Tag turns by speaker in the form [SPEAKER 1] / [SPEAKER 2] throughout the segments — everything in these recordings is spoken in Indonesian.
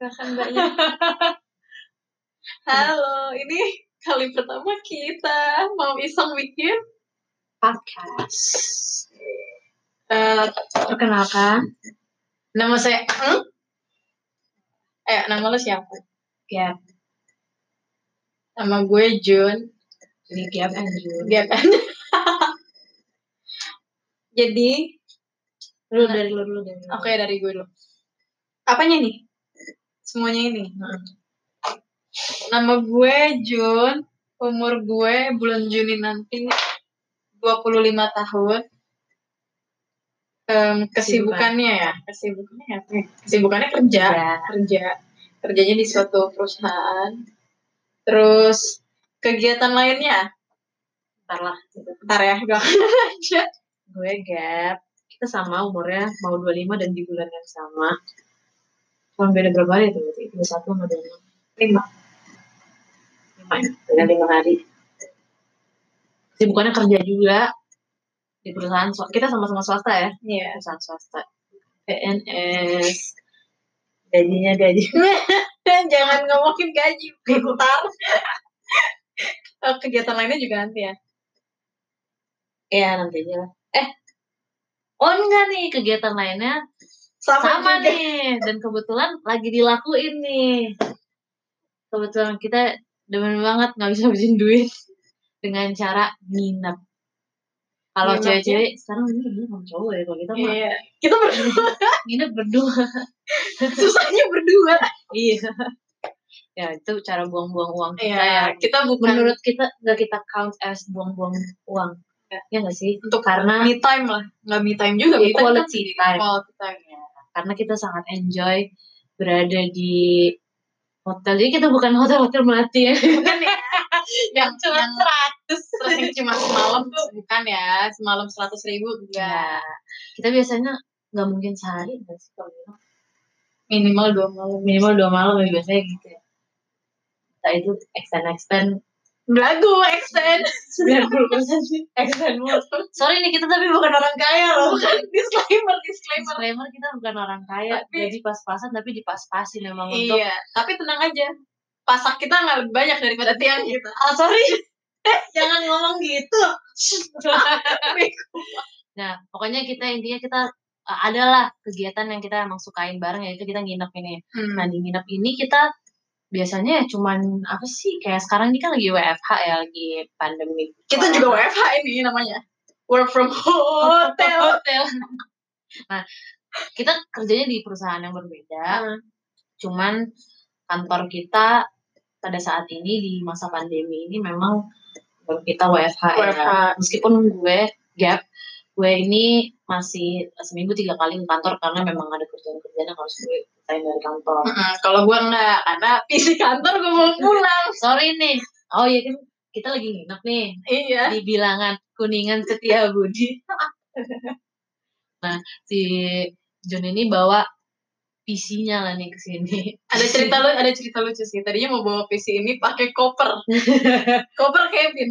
[SPEAKER 1] Makan banyak. Halo, ini kali pertama kita mau iseng bikin
[SPEAKER 2] podcast. Eh, perkenalkan, nama saya
[SPEAKER 1] hmm?
[SPEAKER 2] Eng
[SPEAKER 1] eh nama lo siapa?
[SPEAKER 2] Gap,
[SPEAKER 1] Nama gue Jun.
[SPEAKER 2] jadi Gap Andrew.
[SPEAKER 1] Dia kan. Jadi,
[SPEAKER 2] Lu dari lu dulu dari lu.
[SPEAKER 1] oke dari gue dulu. Apanya nih? Semuanya ini.
[SPEAKER 2] Hmm.
[SPEAKER 1] Nama gue Jun, umur gue bulan Juni nanti 25 tahun. Em, kesibukannya ya, kesibukannya apa? ya? Kesibukannya kerja.
[SPEAKER 2] Ya.
[SPEAKER 1] kerja kerjanya di suatu perusahaan terus kegiatan lainnya
[SPEAKER 2] Ntar lah. gitu.
[SPEAKER 1] ntar ya gue aja
[SPEAKER 2] Gue Gap. Kita sama umurnya, mau 25 dan di bulan yang sama. Cuma beda berapa hari tuh? Berarti 21 sama 25.
[SPEAKER 1] lima
[SPEAKER 2] 5 ya? Beda 5 hari. Sibukannya kerja juga di perusahaan swasta. Kita sama-sama swasta ya?
[SPEAKER 1] iya
[SPEAKER 2] perusahaan swasta PNS gajinya gaji
[SPEAKER 1] jangan ngomongin gaji pintar Eh, kegiatan lainnya juga nanti ya
[SPEAKER 2] ya nanti aja lah eh oh enggak nih kegiatan lainnya sama,
[SPEAKER 1] juga.
[SPEAKER 2] nih dan kebetulan lagi dilakuin nih kebetulan kita demen banget nggak bisa habisin duit dengan cara nginep kalau
[SPEAKER 1] Nginep ya?
[SPEAKER 2] cewek-cewek sekarang ini nginep sama cowok ya kalau kita mah
[SPEAKER 1] iya kita berdua
[SPEAKER 2] nginep berdua
[SPEAKER 1] susahnya berdua
[SPEAKER 2] iya ya itu cara buang-buang uang kita ya
[SPEAKER 1] iya kita bukan
[SPEAKER 2] menurut kita nggak kita count as buang-buang uang
[SPEAKER 1] Ya.
[SPEAKER 2] ya nggak sih
[SPEAKER 1] untuk
[SPEAKER 2] karena-
[SPEAKER 1] me time lah nggak me time juga me time kan
[SPEAKER 2] Iya, quality time.
[SPEAKER 1] quality time ya.
[SPEAKER 2] karena kita sangat enjoy berada di hotel jadi kita bukan hotel hotel melati ya
[SPEAKER 1] bukan ya yang yang
[SPEAKER 2] seratus
[SPEAKER 1] terus yang cuma semalam tuh bukan ya semalam seratus ribu enggak
[SPEAKER 2] iya. kita biasanya nggak mungkin sehari nggak sih kalau gitu.
[SPEAKER 1] minimal dua malam
[SPEAKER 2] minimal dua malam ya biasanya gitu ya kita itu extend extend
[SPEAKER 1] belagu extend
[SPEAKER 2] sembilan puluh persen sih extend mulu sorry nih kita tapi bukan orang kaya loh
[SPEAKER 1] disclaimer disclaimer
[SPEAKER 2] disclaimer kita bukan orang kaya
[SPEAKER 1] Tapi-
[SPEAKER 2] gaji pas-pasan tapi dipas-pasin emang untuk
[SPEAKER 1] iya tapi tenang aja pasak kita nggak lebih banyak daripada tiang kita
[SPEAKER 2] Ah, sorry. Jangan ngomong gitu. nah, pokoknya kita intinya kita eh, adalah kegiatan yang kita emang sukain bareng yaitu kita nginep ini. Nah, di nginep ini kita biasanya ya cuman apa sih kayak sekarang ini kan lagi WFH ya lagi pandemi.
[SPEAKER 1] kita juga WFH ini namanya work from hotel
[SPEAKER 2] hotel. nah, kita kerjanya di perusahaan yang berbeda, cuman kantor kita pada saat ini di masa pandemi ini memang kita WFH, ya.
[SPEAKER 1] WFH
[SPEAKER 2] meskipun gue gap gue ini masih seminggu tiga kali ke kantor karena
[SPEAKER 1] Hmm.
[SPEAKER 2] memang ada kerjaan-kerjaan yang harus gue selesaiin dari kantor
[SPEAKER 1] Mm-mm, kalau gue enggak karena visi kantor gue mau pulang
[SPEAKER 2] sorry nih oh iya kan kita lagi nginep nih
[SPEAKER 1] iya
[SPEAKER 2] di bilangan kuningan setia budi nah si John ini bawa PC-nya lah nih ke sini.
[SPEAKER 1] ada cerita lu ada cerita lucu sih tadinya mau bawa visi ini pakai koper koper Kevin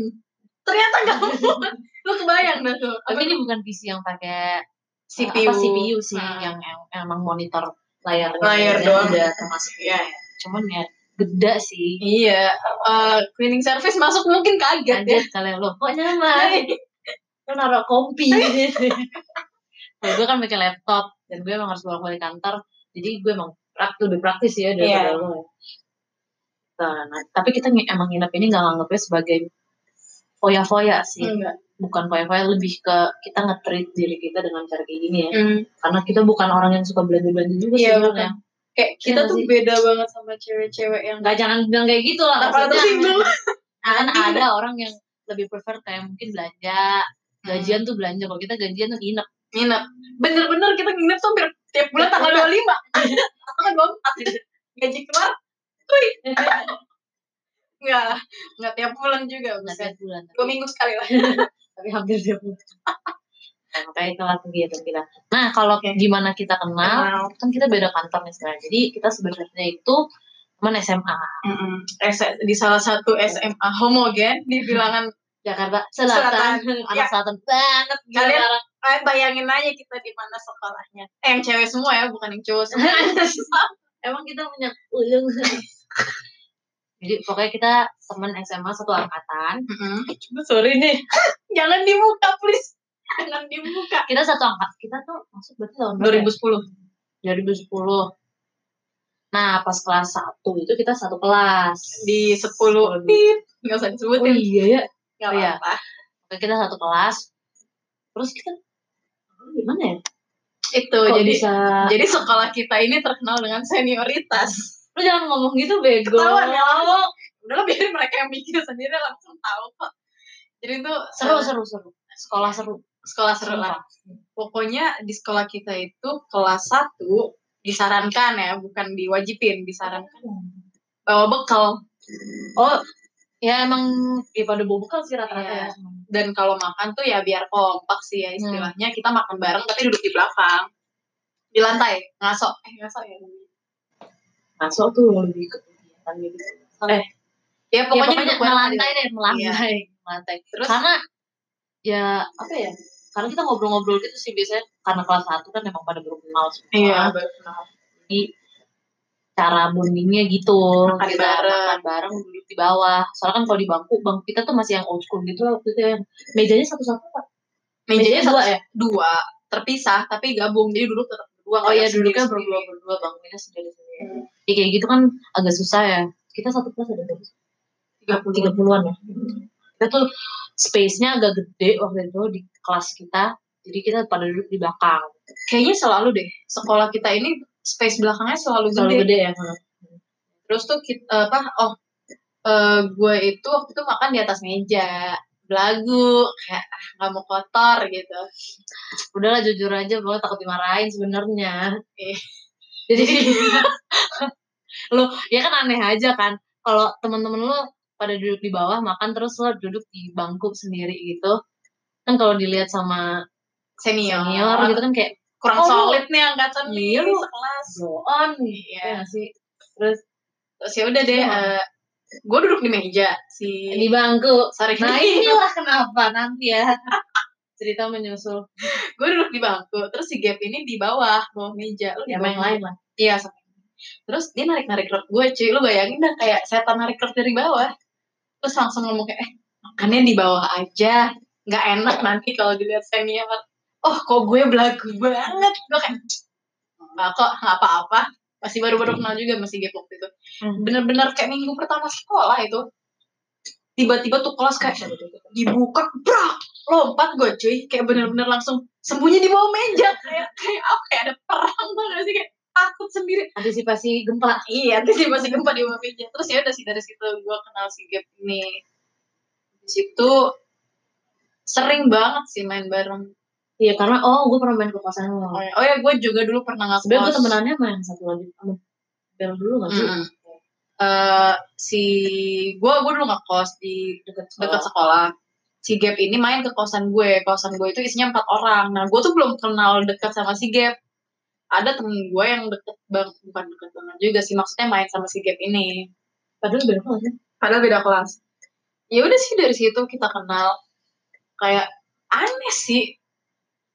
[SPEAKER 1] ternyata nggak mau lu kebayang dah tuh
[SPEAKER 2] Tapi ini bukan PC yang pakai eh,
[SPEAKER 1] CPU
[SPEAKER 2] apa, CPU sih
[SPEAKER 1] Ah.
[SPEAKER 2] yang em- emang monitor layarnya.
[SPEAKER 1] Layar
[SPEAKER 2] aja
[SPEAKER 1] doang.
[SPEAKER 2] udah termasuk
[SPEAKER 1] Iya.
[SPEAKER 2] cuman ya gede sih
[SPEAKER 1] Iya, eh, cleaning service masuk mungkin kaget ya.
[SPEAKER 2] kaget kalian loh kok nyaman lu naruh kompi kalau gue kan pakai laptop dan gue emang harus bolak balik kantor jadi gue emang prak- lebih praktis ya daripada
[SPEAKER 1] Iya.
[SPEAKER 2] lo ya. Nah, nah, tapi kita ngi- emang nginep ini nggak nganggepnya sebagai foya-foya sih
[SPEAKER 1] Enggak.
[SPEAKER 2] bukan foya-foya lebih ke kita nge-treat diri kita dengan cara kayak gini ya
[SPEAKER 1] Hmm.
[SPEAKER 2] karena kita bukan orang yang suka belanja-belanja juga
[SPEAKER 1] Iya,
[SPEAKER 2] sebenarnya
[SPEAKER 1] Kayak kita
[SPEAKER 2] Iya
[SPEAKER 1] tuh
[SPEAKER 2] sih.
[SPEAKER 1] beda banget sama cewek-cewek yang
[SPEAKER 2] nggak jangan bilang kayak gitu lah
[SPEAKER 1] Apa tuh
[SPEAKER 2] maksudnya
[SPEAKER 1] single?
[SPEAKER 2] kan ada orang yang lebih prefer kayak mungkin belanja gajian tuh belanja kalau kita gajian tuh nginep
[SPEAKER 1] Nginep. Bener-bener kita nginep tuh hampir tiap bulan tanggal 25. Tanggal 24. Gaji keluar. Enggak. Enggak tiap bulan juga.
[SPEAKER 2] nggak
[SPEAKER 1] Buset.
[SPEAKER 2] tiap bulan
[SPEAKER 1] Dua minggu sekali lah.
[SPEAKER 2] tapi hampir tiap bulan
[SPEAKER 1] Ya,
[SPEAKER 2] Nah, makanya itulah kegiatan kita nah kalau
[SPEAKER 1] Oke.
[SPEAKER 2] gimana kita kenal kan kita beda kantor nih sekarang jadi kita sebenarnya itu teman SMA
[SPEAKER 1] Mm-mm. S- Di salah satu SMA homogen di bilangan
[SPEAKER 2] Jakarta Selatan, anak
[SPEAKER 1] Ya.
[SPEAKER 2] Selatan banget gila
[SPEAKER 1] Kalian-
[SPEAKER 2] orang.
[SPEAKER 1] Eh, kalian bayangin aja kita di mana sekolahnya. Eh, yang cewek semua ya, bukan yang cowok semua.
[SPEAKER 2] emang kita punya uyung jadi pokoknya kita temen SMA satu angkatan
[SPEAKER 1] Cuma sorry nih. Jangan dibuka please. Jangan dibuka.
[SPEAKER 2] kita satu angkat kita tuh masuk berarti tahun berapa
[SPEAKER 1] 2010.
[SPEAKER 2] ya? 2010 nah pas kelas 1 itu kita satu kelas
[SPEAKER 1] Di 10. Tit. Nggak usah
[SPEAKER 2] oh
[SPEAKER 1] disebutin.
[SPEAKER 2] iya ya
[SPEAKER 1] Nggak
[SPEAKER 2] iya.
[SPEAKER 1] apa-apa.
[SPEAKER 2] Oke, kita satu kelas terus kita gimana ya
[SPEAKER 1] Itu
[SPEAKER 2] kok
[SPEAKER 1] jadi
[SPEAKER 2] bisa
[SPEAKER 1] jadi sekolah kita ini terkenal dengan senioritas.
[SPEAKER 2] lu jangan ngomong gitu bego
[SPEAKER 1] Ketahuan ya langsung. Udah lah biarin mereka yang bikin sendiri langsung tahu kok. Jadi itu eh,
[SPEAKER 2] seru seru seru sekolah seru
[SPEAKER 1] sekolah seru lah. Pokoknya di sekolah kita itu kelas 1 disarankan ya, bukan diwajibin, disarankan bawa bekal
[SPEAKER 2] oh ya emang ya pada bawa bekal sih rata-rata
[SPEAKER 1] Iya.
[SPEAKER 2] ya semuanya.
[SPEAKER 1] dan kalau makan tuh ya biar kompak sih ya istilahnya. Kita makan bareng tapi duduk di belakang. Di lantai, ngaso. Eh, ngaso ya. namanya.
[SPEAKER 2] masuk Nah, tuh lebih ke kegiatan gitu
[SPEAKER 1] Ya
[SPEAKER 2] ya, pokoknya,
[SPEAKER 1] pokoknya, duduk bareng
[SPEAKER 2] melantai deh melantai melantai
[SPEAKER 1] Iya. Terus?
[SPEAKER 2] karena ya apa ya karena kita ngobrol-ngobrol gitu sih biasanya karena kelas satu kan emang pada baru kenal semua
[SPEAKER 1] Iya.
[SPEAKER 2] jadi cara bondingnya gitu
[SPEAKER 1] Makan
[SPEAKER 2] kita
[SPEAKER 1] bareng.
[SPEAKER 2] makan bareng duduk di bawah soalnya kan kalau di bangku bangku kita tuh masih yang old school gitu waktu itu yang mejanya satu-satu Pak.
[SPEAKER 1] Mejanya satu
[SPEAKER 2] dua ya
[SPEAKER 1] dua terpisah tapi gabung jadi duduk tetap berdua. nggak
[SPEAKER 2] oh iya
[SPEAKER 1] sendiri-
[SPEAKER 2] duduknya
[SPEAKER 1] sendiri.
[SPEAKER 2] berdua berdua bangkunya sendiri-sendiri ya kayak gitu kan agak susah ya kita satu kelas ada berapa sih?
[SPEAKER 1] 30.
[SPEAKER 2] tiga puluhan ya kita tuh space-nya agak gede waktu itu di kelas kita jadi kita pada duduk di belakang
[SPEAKER 1] Kayaknya selalu deh sekolah kita ini space belakangnya selalu gede.
[SPEAKER 2] terlalu gede ya
[SPEAKER 1] Terus tuh kita apa? Oh, eh, gue itu waktu itu makan di atas meja, belagu kayak ah, nggak mau kotor gitu.
[SPEAKER 2] udahlah jujur aja pokoknya takut dimarahin sebenarnya
[SPEAKER 1] Iya.
[SPEAKER 2] jadi lo ya kan aneh aja kan kalau teman-teman lo pada duduk di bawah makan terus lo duduk di bangku sendiri gitu kan kalau dilihat sama
[SPEAKER 1] Senior,
[SPEAKER 2] senior gitu kan kayak
[SPEAKER 1] kurang
[SPEAKER 2] Oh, lu-
[SPEAKER 1] solid nih angkatan
[SPEAKER 2] Iya,
[SPEAKER 1] nih
[SPEAKER 2] lu-
[SPEAKER 1] sekelas.
[SPEAKER 2] go on
[SPEAKER 1] Iya.
[SPEAKER 2] ya nggak sih terus
[SPEAKER 1] Terus ya udah deh,
[SPEAKER 2] Iya.
[SPEAKER 1] gue duduk di meja si
[SPEAKER 2] di bangku
[SPEAKER 1] sorry,
[SPEAKER 2] Nah inilah kenapa nanti ya cerita menyusul
[SPEAKER 1] gue duduk di bangku. Terus si Gap ini di bawah, bawah meja. Lu di
[SPEAKER 2] sama yang
[SPEAKER 1] bawah
[SPEAKER 2] lain lah.
[SPEAKER 1] Iya, sama yang lain. Terus dia narik-narik rok gue, cuy. Lu bayangin dah kayak setan narik rok dari bawah. Terus langsung ngomong kayak, eh, makannya di bawah aja. Nggak enak nanti kalau dilihat senior. Oh, kok gue belagu banget. Gue kayak, nggak kok, nggak apa-apa. Masih baru-baru kenal juga sama si Gap waktu itu.
[SPEAKER 2] Hmm.
[SPEAKER 1] Bener-bener kayak minggu pertama sekolah itu. Tiba-tiba tuh kelas kayak, dibuka brak lompat gue cuy kayak bener-bener langsung sembunyi di bawah meja kayak kayak apa kayak ada perang tuh gak sih kayak takut sendiri
[SPEAKER 2] Antisipasi gempa.
[SPEAKER 1] iya terus dia masih gempa di bawah meja terus ya udah sih dari situ gue kenal si Gap ini di situ sering banget sih main bareng
[SPEAKER 2] Iya karena oh gue pernah main ke kosan lo.
[SPEAKER 1] oh ya, oh ya gue juga dulu pernah nggak
[SPEAKER 2] Sebenarnya gue
[SPEAKER 1] kos.
[SPEAKER 2] temenannya sama yang satu lagi. Sama Bel dulu gak sih?
[SPEAKER 1] Mm-mm. Eh, si gue gue dulu nggak kos di
[SPEAKER 2] Deket
[SPEAKER 1] dekat
[SPEAKER 2] sekolah.
[SPEAKER 1] sekolah si Gap ini main ke kosan gue kosan gue itu isinya empat orang nah gue tuh belum kenal dekat sama si Gap ada temen gue yang deket bang bukan deket banget juga sih maksudnya main sama si Gap ini
[SPEAKER 2] Padahal beda kelas ya.
[SPEAKER 1] padahal beda kelas ya udah sih dari situ kita kenal kayak aneh sih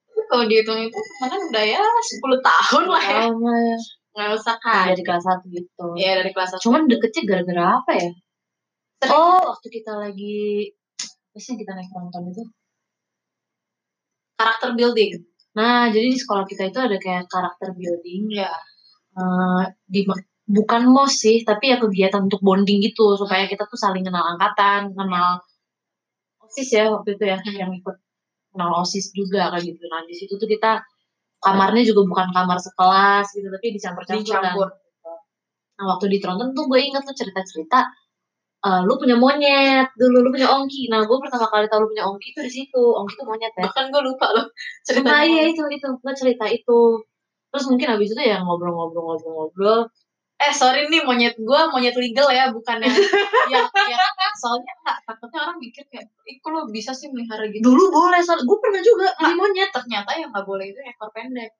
[SPEAKER 1] Tapi kalau dihitung itu kemarin udah ya 10 tahun lah ya
[SPEAKER 2] Sama ya.
[SPEAKER 1] nggak usah
[SPEAKER 2] Nah,
[SPEAKER 1] kan
[SPEAKER 2] dari kelas satu gitu.
[SPEAKER 1] ya dari kelas satu
[SPEAKER 2] Cuman deketnya gara-gara apa ya?
[SPEAKER 1] Sering.
[SPEAKER 2] Oh waktu kita lagi apa sih yang kita naik nonton itu?
[SPEAKER 1] karakter building
[SPEAKER 2] Nah jadi di sekolah kita itu ada kayak karakter building
[SPEAKER 1] ya
[SPEAKER 2] eh, di bukan mos sih tapi ya kegiatan untuk bonding gitu supaya kita tuh saling kenal angkatan kenal osis ya waktu itu ya
[SPEAKER 1] Hmm.
[SPEAKER 2] yang ikut kenal osis juga kayak gitu nah di situ tuh kita kamarnya juga bukan kamar sekelas gitu tapi dicampur-campur kan.
[SPEAKER 1] dicampur
[SPEAKER 2] nah waktu di Tronton tuh gue inget tuh cerita-cerita eh, lu punya monyet dulu lu punya ongki nah gue pertama kali tau lu punya ongki itu di situ ongki tuh monyet ya
[SPEAKER 1] bahkan gue lupa loh
[SPEAKER 2] cerita
[SPEAKER 1] ceritanya
[SPEAKER 2] iya itu itu gue cerita itu terus mungkin habis itu ya ngobrol-ngobrol-ngobrol-ngobrol iya.
[SPEAKER 1] eh sorry nih monyet gue monyet legal ya bukan yang yang, yang- soalnya nggak takutnya orang mikir kayak ih kok lo bisa sih melihara gitu
[SPEAKER 2] dulu boleh soalnya gue pernah juga
[SPEAKER 1] Nah, monyet ternyata yang nggak boleh itu ekor pendek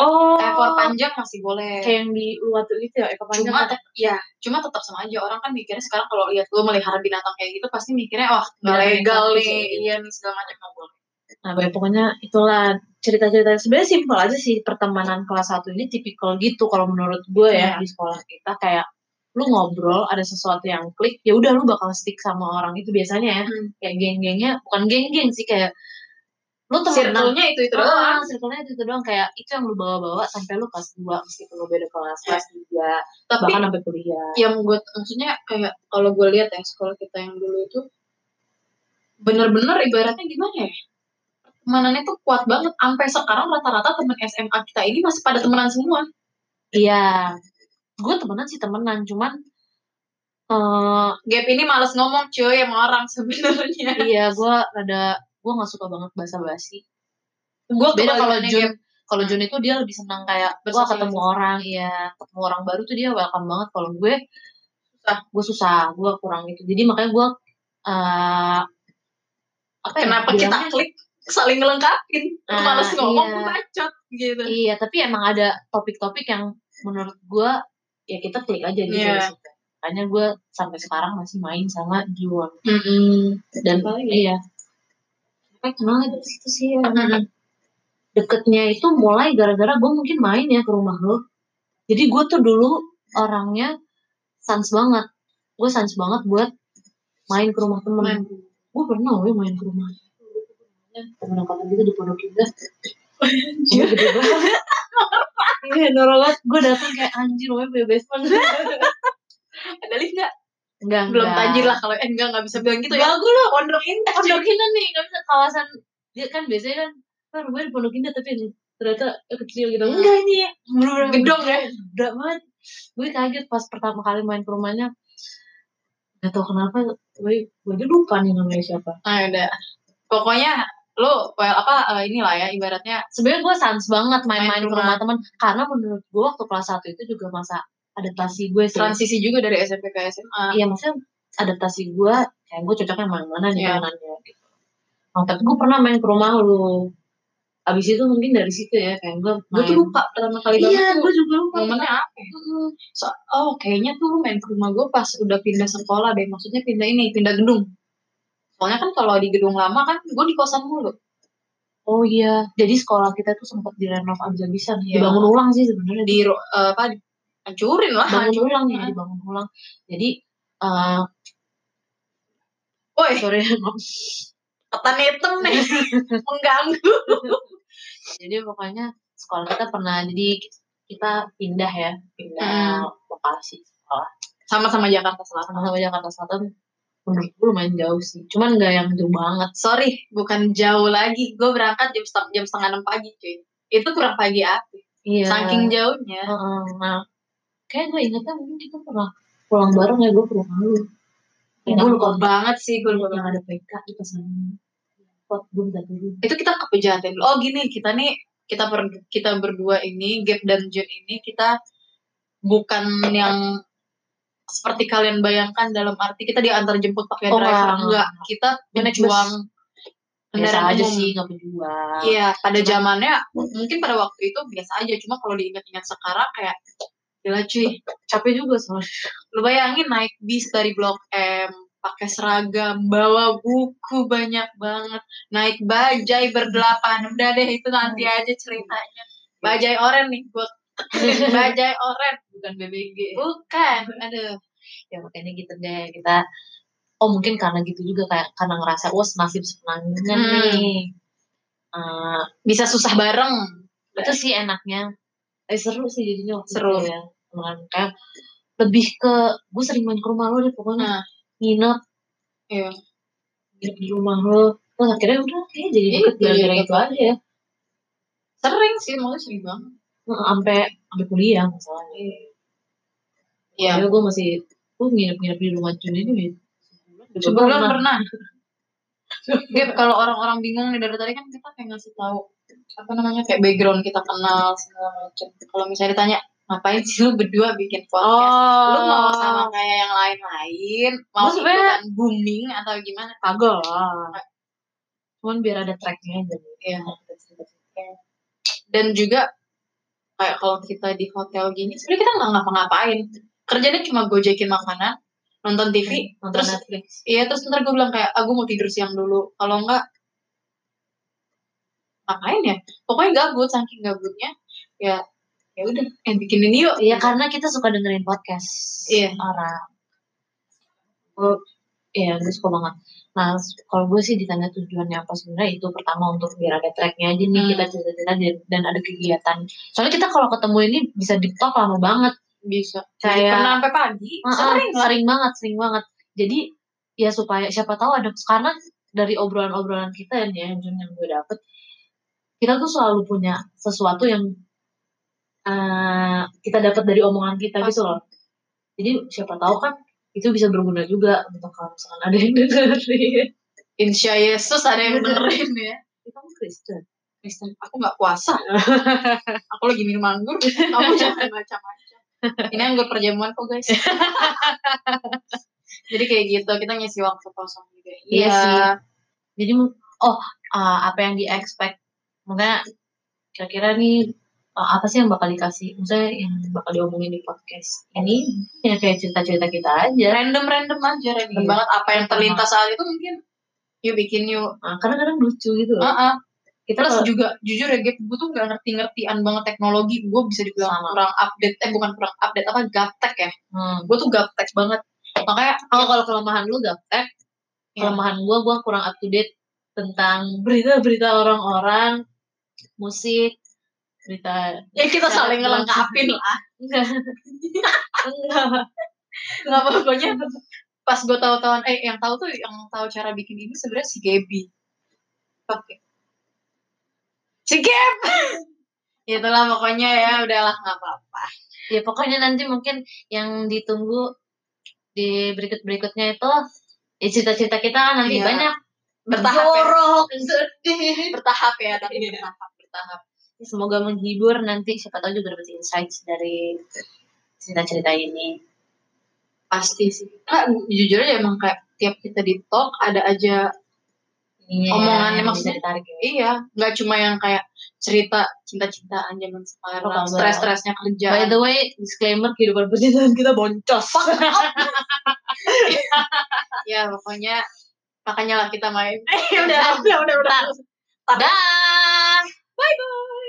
[SPEAKER 2] oh
[SPEAKER 1] ekor panjang masih boleh
[SPEAKER 2] kayak yang di luar tuh gitu ya ekor panjang
[SPEAKER 1] cuma tet- ya cuma tetap sama aja orang kan mikirnya sekarang kalau lihat gue melihara binatang kayak gitu pasti mikirnya wah nggak
[SPEAKER 2] Binatang
[SPEAKER 1] legal
[SPEAKER 2] eksotis ya,
[SPEAKER 1] nih
[SPEAKER 2] gitu.
[SPEAKER 1] iya nih segala macam nggak boleh
[SPEAKER 2] Nah, pokoknya- pokoknya itulah cerita-cerita sebenarnya simpel aja sih pertemanan kelas 1 ini tipikal gitu kalau menurut gue ya
[SPEAKER 1] Iya.
[SPEAKER 2] di sekolah kita kayak lu ngobrol ada sesuatu yang klik ya udah lu bakal stick sama orang itu biasanya ya
[SPEAKER 1] Hmm.
[SPEAKER 2] kayak geng-gengnya bukan geng-geng sih kayak lu temenan
[SPEAKER 1] circle-nya itu itu
[SPEAKER 2] Ah,
[SPEAKER 1] gitu doang
[SPEAKER 2] circle-nya itu doang kayak itu yang lu bawa-bawa sampai lu kelas 2 meskipun lu beda kelas
[SPEAKER 1] Iya.
[SPEAKER 2] kelas 3
[SPEAKER 1] tapi
[SPEAKER 2] bahkan sampai kuliah
[SPEAKER 1] yang gue maksudnya kayak kalau gue lihat ya sekolah kita yang dulu itu bener-bener ibaratnya gimana ya temenannya tuh kuat banget sampai sekarang rata-rata temen SMA kita ini masih pada temenan semua
[SPEAKER 2] iya gue temenan sih temenan cuman eh
[SPEAKER 1] gap ini males ngomong cuy sama orang sebenarnya
[SPEAKER 2] iya gue rada gue nggak suka banget basa-basi
[SPEAKER 1] gue
[SPEAKER 2] beda kalau Jun kalau Jun itu dia lebih senang kayak wah
[SPEAKER 1] Bersosialisasi.
[SPEAKER 2] ketemu orang ya ketemu orang baru tuh dia welcome banget kalau gue susah gue susah gue kurang itu jadi makanya gue eh apa ya,
[SPEAKER 1] kenapa kita
[SPEAKER 2] bilangnya-
[SPEAKER 1] klik saling ngelengkapin Lu
[SPEAKER 2] Ah,
[SPEAKER 1] males ngomong
[SPEAKER 2] iya.
[SPEAKER 1] lu bacot gitu
[SPEAKER 2] iya tapi emang ada topik-topik yang menurut gue ya kita klik aja gitu
[SPEAKER 1] Iya.
[SPEAKER 2] di situ. makanya gue sampai sekarang masih main sama Jiwon dan
[SPEAKER 1] Apalagi?
[SPEAKER 2] iya Makanya kenalnya dari situ sih ya. deketnya itu mulai gara-gara gue mungkin main ya ke rumah lo. Jadi gue tuh dulu orangnya sans banget. Gue sans banget buat main ke rumah temen. Gue pernah gue main ke rumah. Temen kapan gitu di pondok indah. Gue gede banget. Iya, normal Gue datang kayak anjir, gue punya best friend.
[SPEAKER 1] ada lift nggak
[SPEAKER 2] Enggak,
[SPEAKER 1] belum
[SPEAKER 2] enggak.
[SPEAKER 1] tajir lah kalau eh, enggak nggak bisa bilang gitu ya
[SPEAKER 2] Bagus lu.
[SPEAKER 1] pondok indah
[SPEAKER 2] Pondok Indah nih, nggak bisa kawasan. Dia kan biasanya kan, kan rumahnya di Pondok Indah tapi ternyata kecil gitu. Enggak ini, bener-bener
[SPEAKER 1] gedong ya
[SPEAKER 2] gede banget gue kaget pas pertama kali main ke rumahnya gak tau kenapa gue gue aja lupa nih namanya siapa
[SPEAKER 1] Ah, udah. Pokoknya lu well apa eh, inilah ya ibaratnya
[SPEAKER 2] sebenarnya gue sans banget
[SPEAKER 1] Main
[SPEAKER 2] main-main
[SPEAKER 1] ke
[SPEAKER 2] ke rumah teman karena menurut gue waktu kelas 1 itu juga masa adaptasi gue sih
[SPEAKER 1] transisi juga dari SMP ke SMA.
[SPEAKER 2] iya maksudnya adaptasi gue kayak gue cocoknya main mana nih
[SPEAKER 1] Iya.
[SPEAKER 2] mainannya gitu nah, tapi gue pernah main ke rumah lu abis itu mungkin dari situ ya kayak gue
[SPEAKER 1] Gue
[SPEAKER 2] main
[SPEAKER 1] tuh lupa pertama kali
[SPEAKER 2] iya
[SPEAKER 1] banget tuh
[SPEAKER 2] gue juga lupa
[SPEAKER 1] momennya apa. ya?
[SPEAKER 2] Mm-mm.
[SPEAKER 1] So- oh kayaknya tuh lu main ke rumah gue pas udah pindah sekolah deh. Maksudnya pindah ini, pindah gedung. Soalnya kan kalau di gedung lama kan gue di kosan mulu.
[SPEAKER 2] oh iya jadi sekolah kita tuh sempat direnov abis-abisan
[SPEAKER 1] Iya.
[SPEAKER 2] ya. dibangun ulang sih sebenarnya
[SPEAKER 1] Di Iya. ru- eh, apa hancurin lah.
[SPEAKER 2] bangun
[SPEAKER 1] Hancur.
[SPEAKER 2] ulang ya
[SPEAKER 1] Heeh.
[SPEAKER 2] dibangun ulang jadi eh
[SPEAKER 1] Woi,
[SPEAKER 2] sorry
[SPEAKER 1] ketan hitam nih. Mengganggu.
[SPEAKER 2] jadi pokoknya sekolah kita pernah jadi kita pindah ya
[SPEAKER 1] Hmm.
[SPEAKER 2] pindah lokasi sekolah
[SPEAKER 1] Sama-sama Jakarta Selatan.
[SPEAKER 2] sama sama Jakarta Selatan menurut gue lumayan jauh sih cuman nggak yang jauh banget
[SPEAKER 1] Sorry, bukan jauh lagi. Gue berangkat jam, seteng- jam setengah enam pagi cuy. Itu kurang pagi apa.
[SPEAKER 2] iya
[SPEAKER 1] Saking jauhnya.
[SPEAKER 2] Heeh, nah kayak gue ingetnya mungkin kita pernah pulang bareng ya gue ke rumah lu
[SPEAKER 1] Gue lupa banget sih, gue lupa
[SPEAKER 2] yang
[SPEAKER 1] banget.
[SPEAKER 2] Iya. ada PK di pesan pot gue minta dulu
[SPEAKER 1] Itu kita ke pejaten dulu. Oh gini, kita nih, kita ber- kita berdua ini, Gap dan Jun ini, kita bukan yang seperti kalian bayangkan dalam arti kita diantar jemput pakai
[SPEAKER 2] Oh,
[SPEAKER 1] driver.
[SPEAKER 2] enggak.
[SPEAKER 1] Enggak, kita
[SPEAKER 2] Naik bus.
[SPEAKER 1] berjuang
[SPEAKER 2] biasa
[SPEAKER 1] kendaraan
[SPEAKER 2] aja
[SPEAKER 1] umum.
[SPEAKER 2] sih nggak berjuang
[SPEAKER 1] Iya, pada
[SPEAKER 2] Cuman-
[SPEAKER 1] zamannya mungkin pada waktu itu biasa aja. Cuma kalau diingat-ingat sekarang kayak, gila cuy,
[SPEAKER 2] capek juga soalnya
[SPEAKER 1] lu bayangin naik bis dari blok M pakai seragam bawa buku banyak banget naik bajai berdelapan udah deh itu nanti aja ceritanya bajai oren nih gua tekenin, bajai oren
[SPEAKER 2] bukan BBG
[SPEAKER 1] bukan aduh
[SPEAKER 2] ya makanya gitu deh kita oh mungkin karena gitu juga kayak karena ngerasa wah nasib sepenanggungan
[SPEAKER 1] Hmm.
[SPEAKER 2] nih Eh,
[SPEAKER 1] bisa susah bareng
[SPEAKER 2] itu sih enaknya eh, seru sih jadinya waktu
[SPEAKER 1] Seru.
[SPEAKER 2] itu ya Cuman kayak lebih ke gue sering main ke rumah lo deh pokoknya
[SPEAKER 1] Nah.
[SPEAKER 2] nginep
[SPEAKER 1] iya
[SPEAKER 2] nginep di rumah lo terus akhirnya udah kayaknya jadi
[SPEAKER 1] Iya,
[SPEAKER 2] deket gara-gara
[SPEAKER 1] iya.
[SPEAKER 2] itu aja ya
[SPEAKER 1] sering sih mau sering banget
[SPEAKER 2] Heeh, sampai sampai kuliah masalahnya
[SPEAKER 1] iya
[SPEAKER 2] Akhirnya gue masih gue nginep-nginep di rumah Jun ini ya.
[SPEAKER 1] Sebelum pernah. Gap, kalau orang-orang bingung nih dari tadi kan kita kayak ngasih tahu apa namanya kayak background kita kenal segala macam. Kalau misalnya ditanya ngapain sih lu berdua bikin podcast?
[SPEAKER 2] oh
[SPEAKER 1] Lu Iya, mau sama kayak yang lain-lain? Mau
[SPEAKER 2] Lu sebenarnya-
[SPEAKER 1] ikutan booming atau gimana?
[SPEAKER 2] kagak lah cuman biar ada tracknya aja
[SPEAKER 1] Iya. Dan juga kayak kalau kita di hotel gini, sebenarnya kita nggak ngapa-ngapain. Kerjanya cuma gojekin makanan, nonton TV,
[SPEAKER 2] nonton
[SPEAKER 1] terus
[SPEAKER 2] Netflix
[SPEAKER 1] "Ah, Iya terus ntar gue bilang kayak aku mau tidur siang dulu. Kalau enggak ngapain ya pokoknya gabut saking gabutnya ya ya udah eh bikinin yuk
[SPEAKER 2] Iya karena kita suka dengerin podcast
[SPEAKER 1] Iya.
[SPEAKER 2] orang. Oh, Iya, gue suka banget. Nah, kalau gue sih ditanya tujuannya apa sebenarnya itu pertama untuk biar ada tracknya aja nih
[SPEAKER 1] Hmm.
[SPEAKER 2] kita cerita-cerita dan, dan ada kegiatan. Soalnya kita kalau ketemu ini bisa di talk lama banget.
[SPEAKER 1] bisa
[SPEAKER 2] Kayak-
[SPEAKER 1] pernah sampai pagi
[SPEAKER 2] Ah, ah,
[SPEAKER 1] sering lah
[SPEAKER 2] sering banget, sering banget. Jadi ya supaya siapa tahu ada karena dari obrolan-obrolan kita nih ya Jun, yang gue dapet kita tuh selalu punya sesuatu yang eh, kita dapat dari omongan kita gitu loh. Jadi siapa tahu kan itu bisa berguna juga untuk kalau misalkan ada yang dengerin.
[SPEAKER 1] insya Yesus ada yang
[SPEAKER 2] Bener.
[SPEAKER 1] dengerin ya
[SPEAKER 2] Itu kan Kristen.
[SPEAKER 1] Kristen, aku nggak puasa aku lagi minum anggur kamu jangan macam-macam ini anggur perjamuan kok guys jadi kayak gitu kita ngisi waktu kosong juga
[SPEAKER 2] Iya
[SPEAKER 1] Iya.
[SPEAKER 2] sih. Jadi mu- oh eh, apa yang di expect? Makanya kira-kira nih eh, apa sih yang bakal dikasih? Maksudnya yang bakal diomongin di podcast ini ya kayak cerita-cerita kita aja.
[SPEAKER 1] random-random aja random
[SPEAKER 2] Iya.
[SPEAKER 1] banget apa yang terlintas saat itu mungkin yuk bikin yuk
[SPEAKER 2] Nah, karena kadang lucu gitu loh.
[SPEAKER 1] Heeh. Oh,
[SPEAKER 2] kita
[SPEAKER 1] terus
[SPEAKER 2] kalau-
[SPEAKER 1] juga jujur ya Gap gue tuh gak ngerti-ngertian banget teknologi gue bisa dibilang
[SPEAKER 2] Sama.
[SPEAKER 1] kurang update eh bukan kurang update apa gaptek ya
[SPEAKER 2] Hmm.
[SPEAKER 1] gue tuh gaptek banget makanya
[SPEAKER 2] Oh, kalau kelemahan lu gaptek,
[SPEAKER 1] Iya.
[SPEAKER 2] kelemahan gua gua kurang up to date tentang berita-berita orang-orang, musik, berita
[SPEAKER 1] ya kita
[SPEAKER 2] Jangan
[SPEAKER 1] saling
[SPEAKER 2] bilang
[SPEAKER 1] ngelengkapin lah
[SPEAKER 2] enggak. enggak.
[SPEAKER 1] nggak pokoknya pas gue tahu tahuan eh yang tahu tuh yang tahu cara bikin ini sebenarnya si Gaby oke si Gab itulah pokoknya ya udahlah nggak apa-apa
[SPEAKER 2] Ya pokoknya nanti mungkin yang ditunggu di berikut-berikutnya itu ya cerita-cerita kita kan nanti
[SPEAKER 1] Iya.
[SPEAKER 2] banyak
[SPEAKER 1] Bertahap ya.
[SPEAKER 2] jorok, sedih.
[SPEAKER 1] bertahap ya tapi
[SPEAKER 2] Iya.
[SPEAKER 1] bertahap bertahap
[SPEAKER 2] Semoga menghibur nanti siapa tahu juga dapat insights dari cerita-cerita ini.
[SPEAKER 1] pasti sih nah, jujur aja emang kayak tiap kita di talk ada aja
[SPEAKER 2] Iya,
[SPEAKER 1] Omongannya
[SPEAKER 2] yang
[SPEAKER 1] maksudnya-
[SPEAKER 2] bisa ditarik ya.
[SPEAKER 1] Iya, nggak cuma yang kayak cerita cinta-cintaan zaman
[SPEAKER 2] Oh,
[SPEAKER 1] sekarang,
[SPEAKER 2] kagak.
[SPEAKER 1] stres-stresnya kerja.
[SPEAKER 2] By the way, disclaimer kehidupan percintaan kita boncos.
[SPEAKER 1] Ya pokoknya makanya lah kita main.
[SPEAKER 2] udah, udah, udah, udah.
[SPEAKER 1] Dah.
[SPEAKER 2] Dah.
[SPEAKER 1] Bye bye.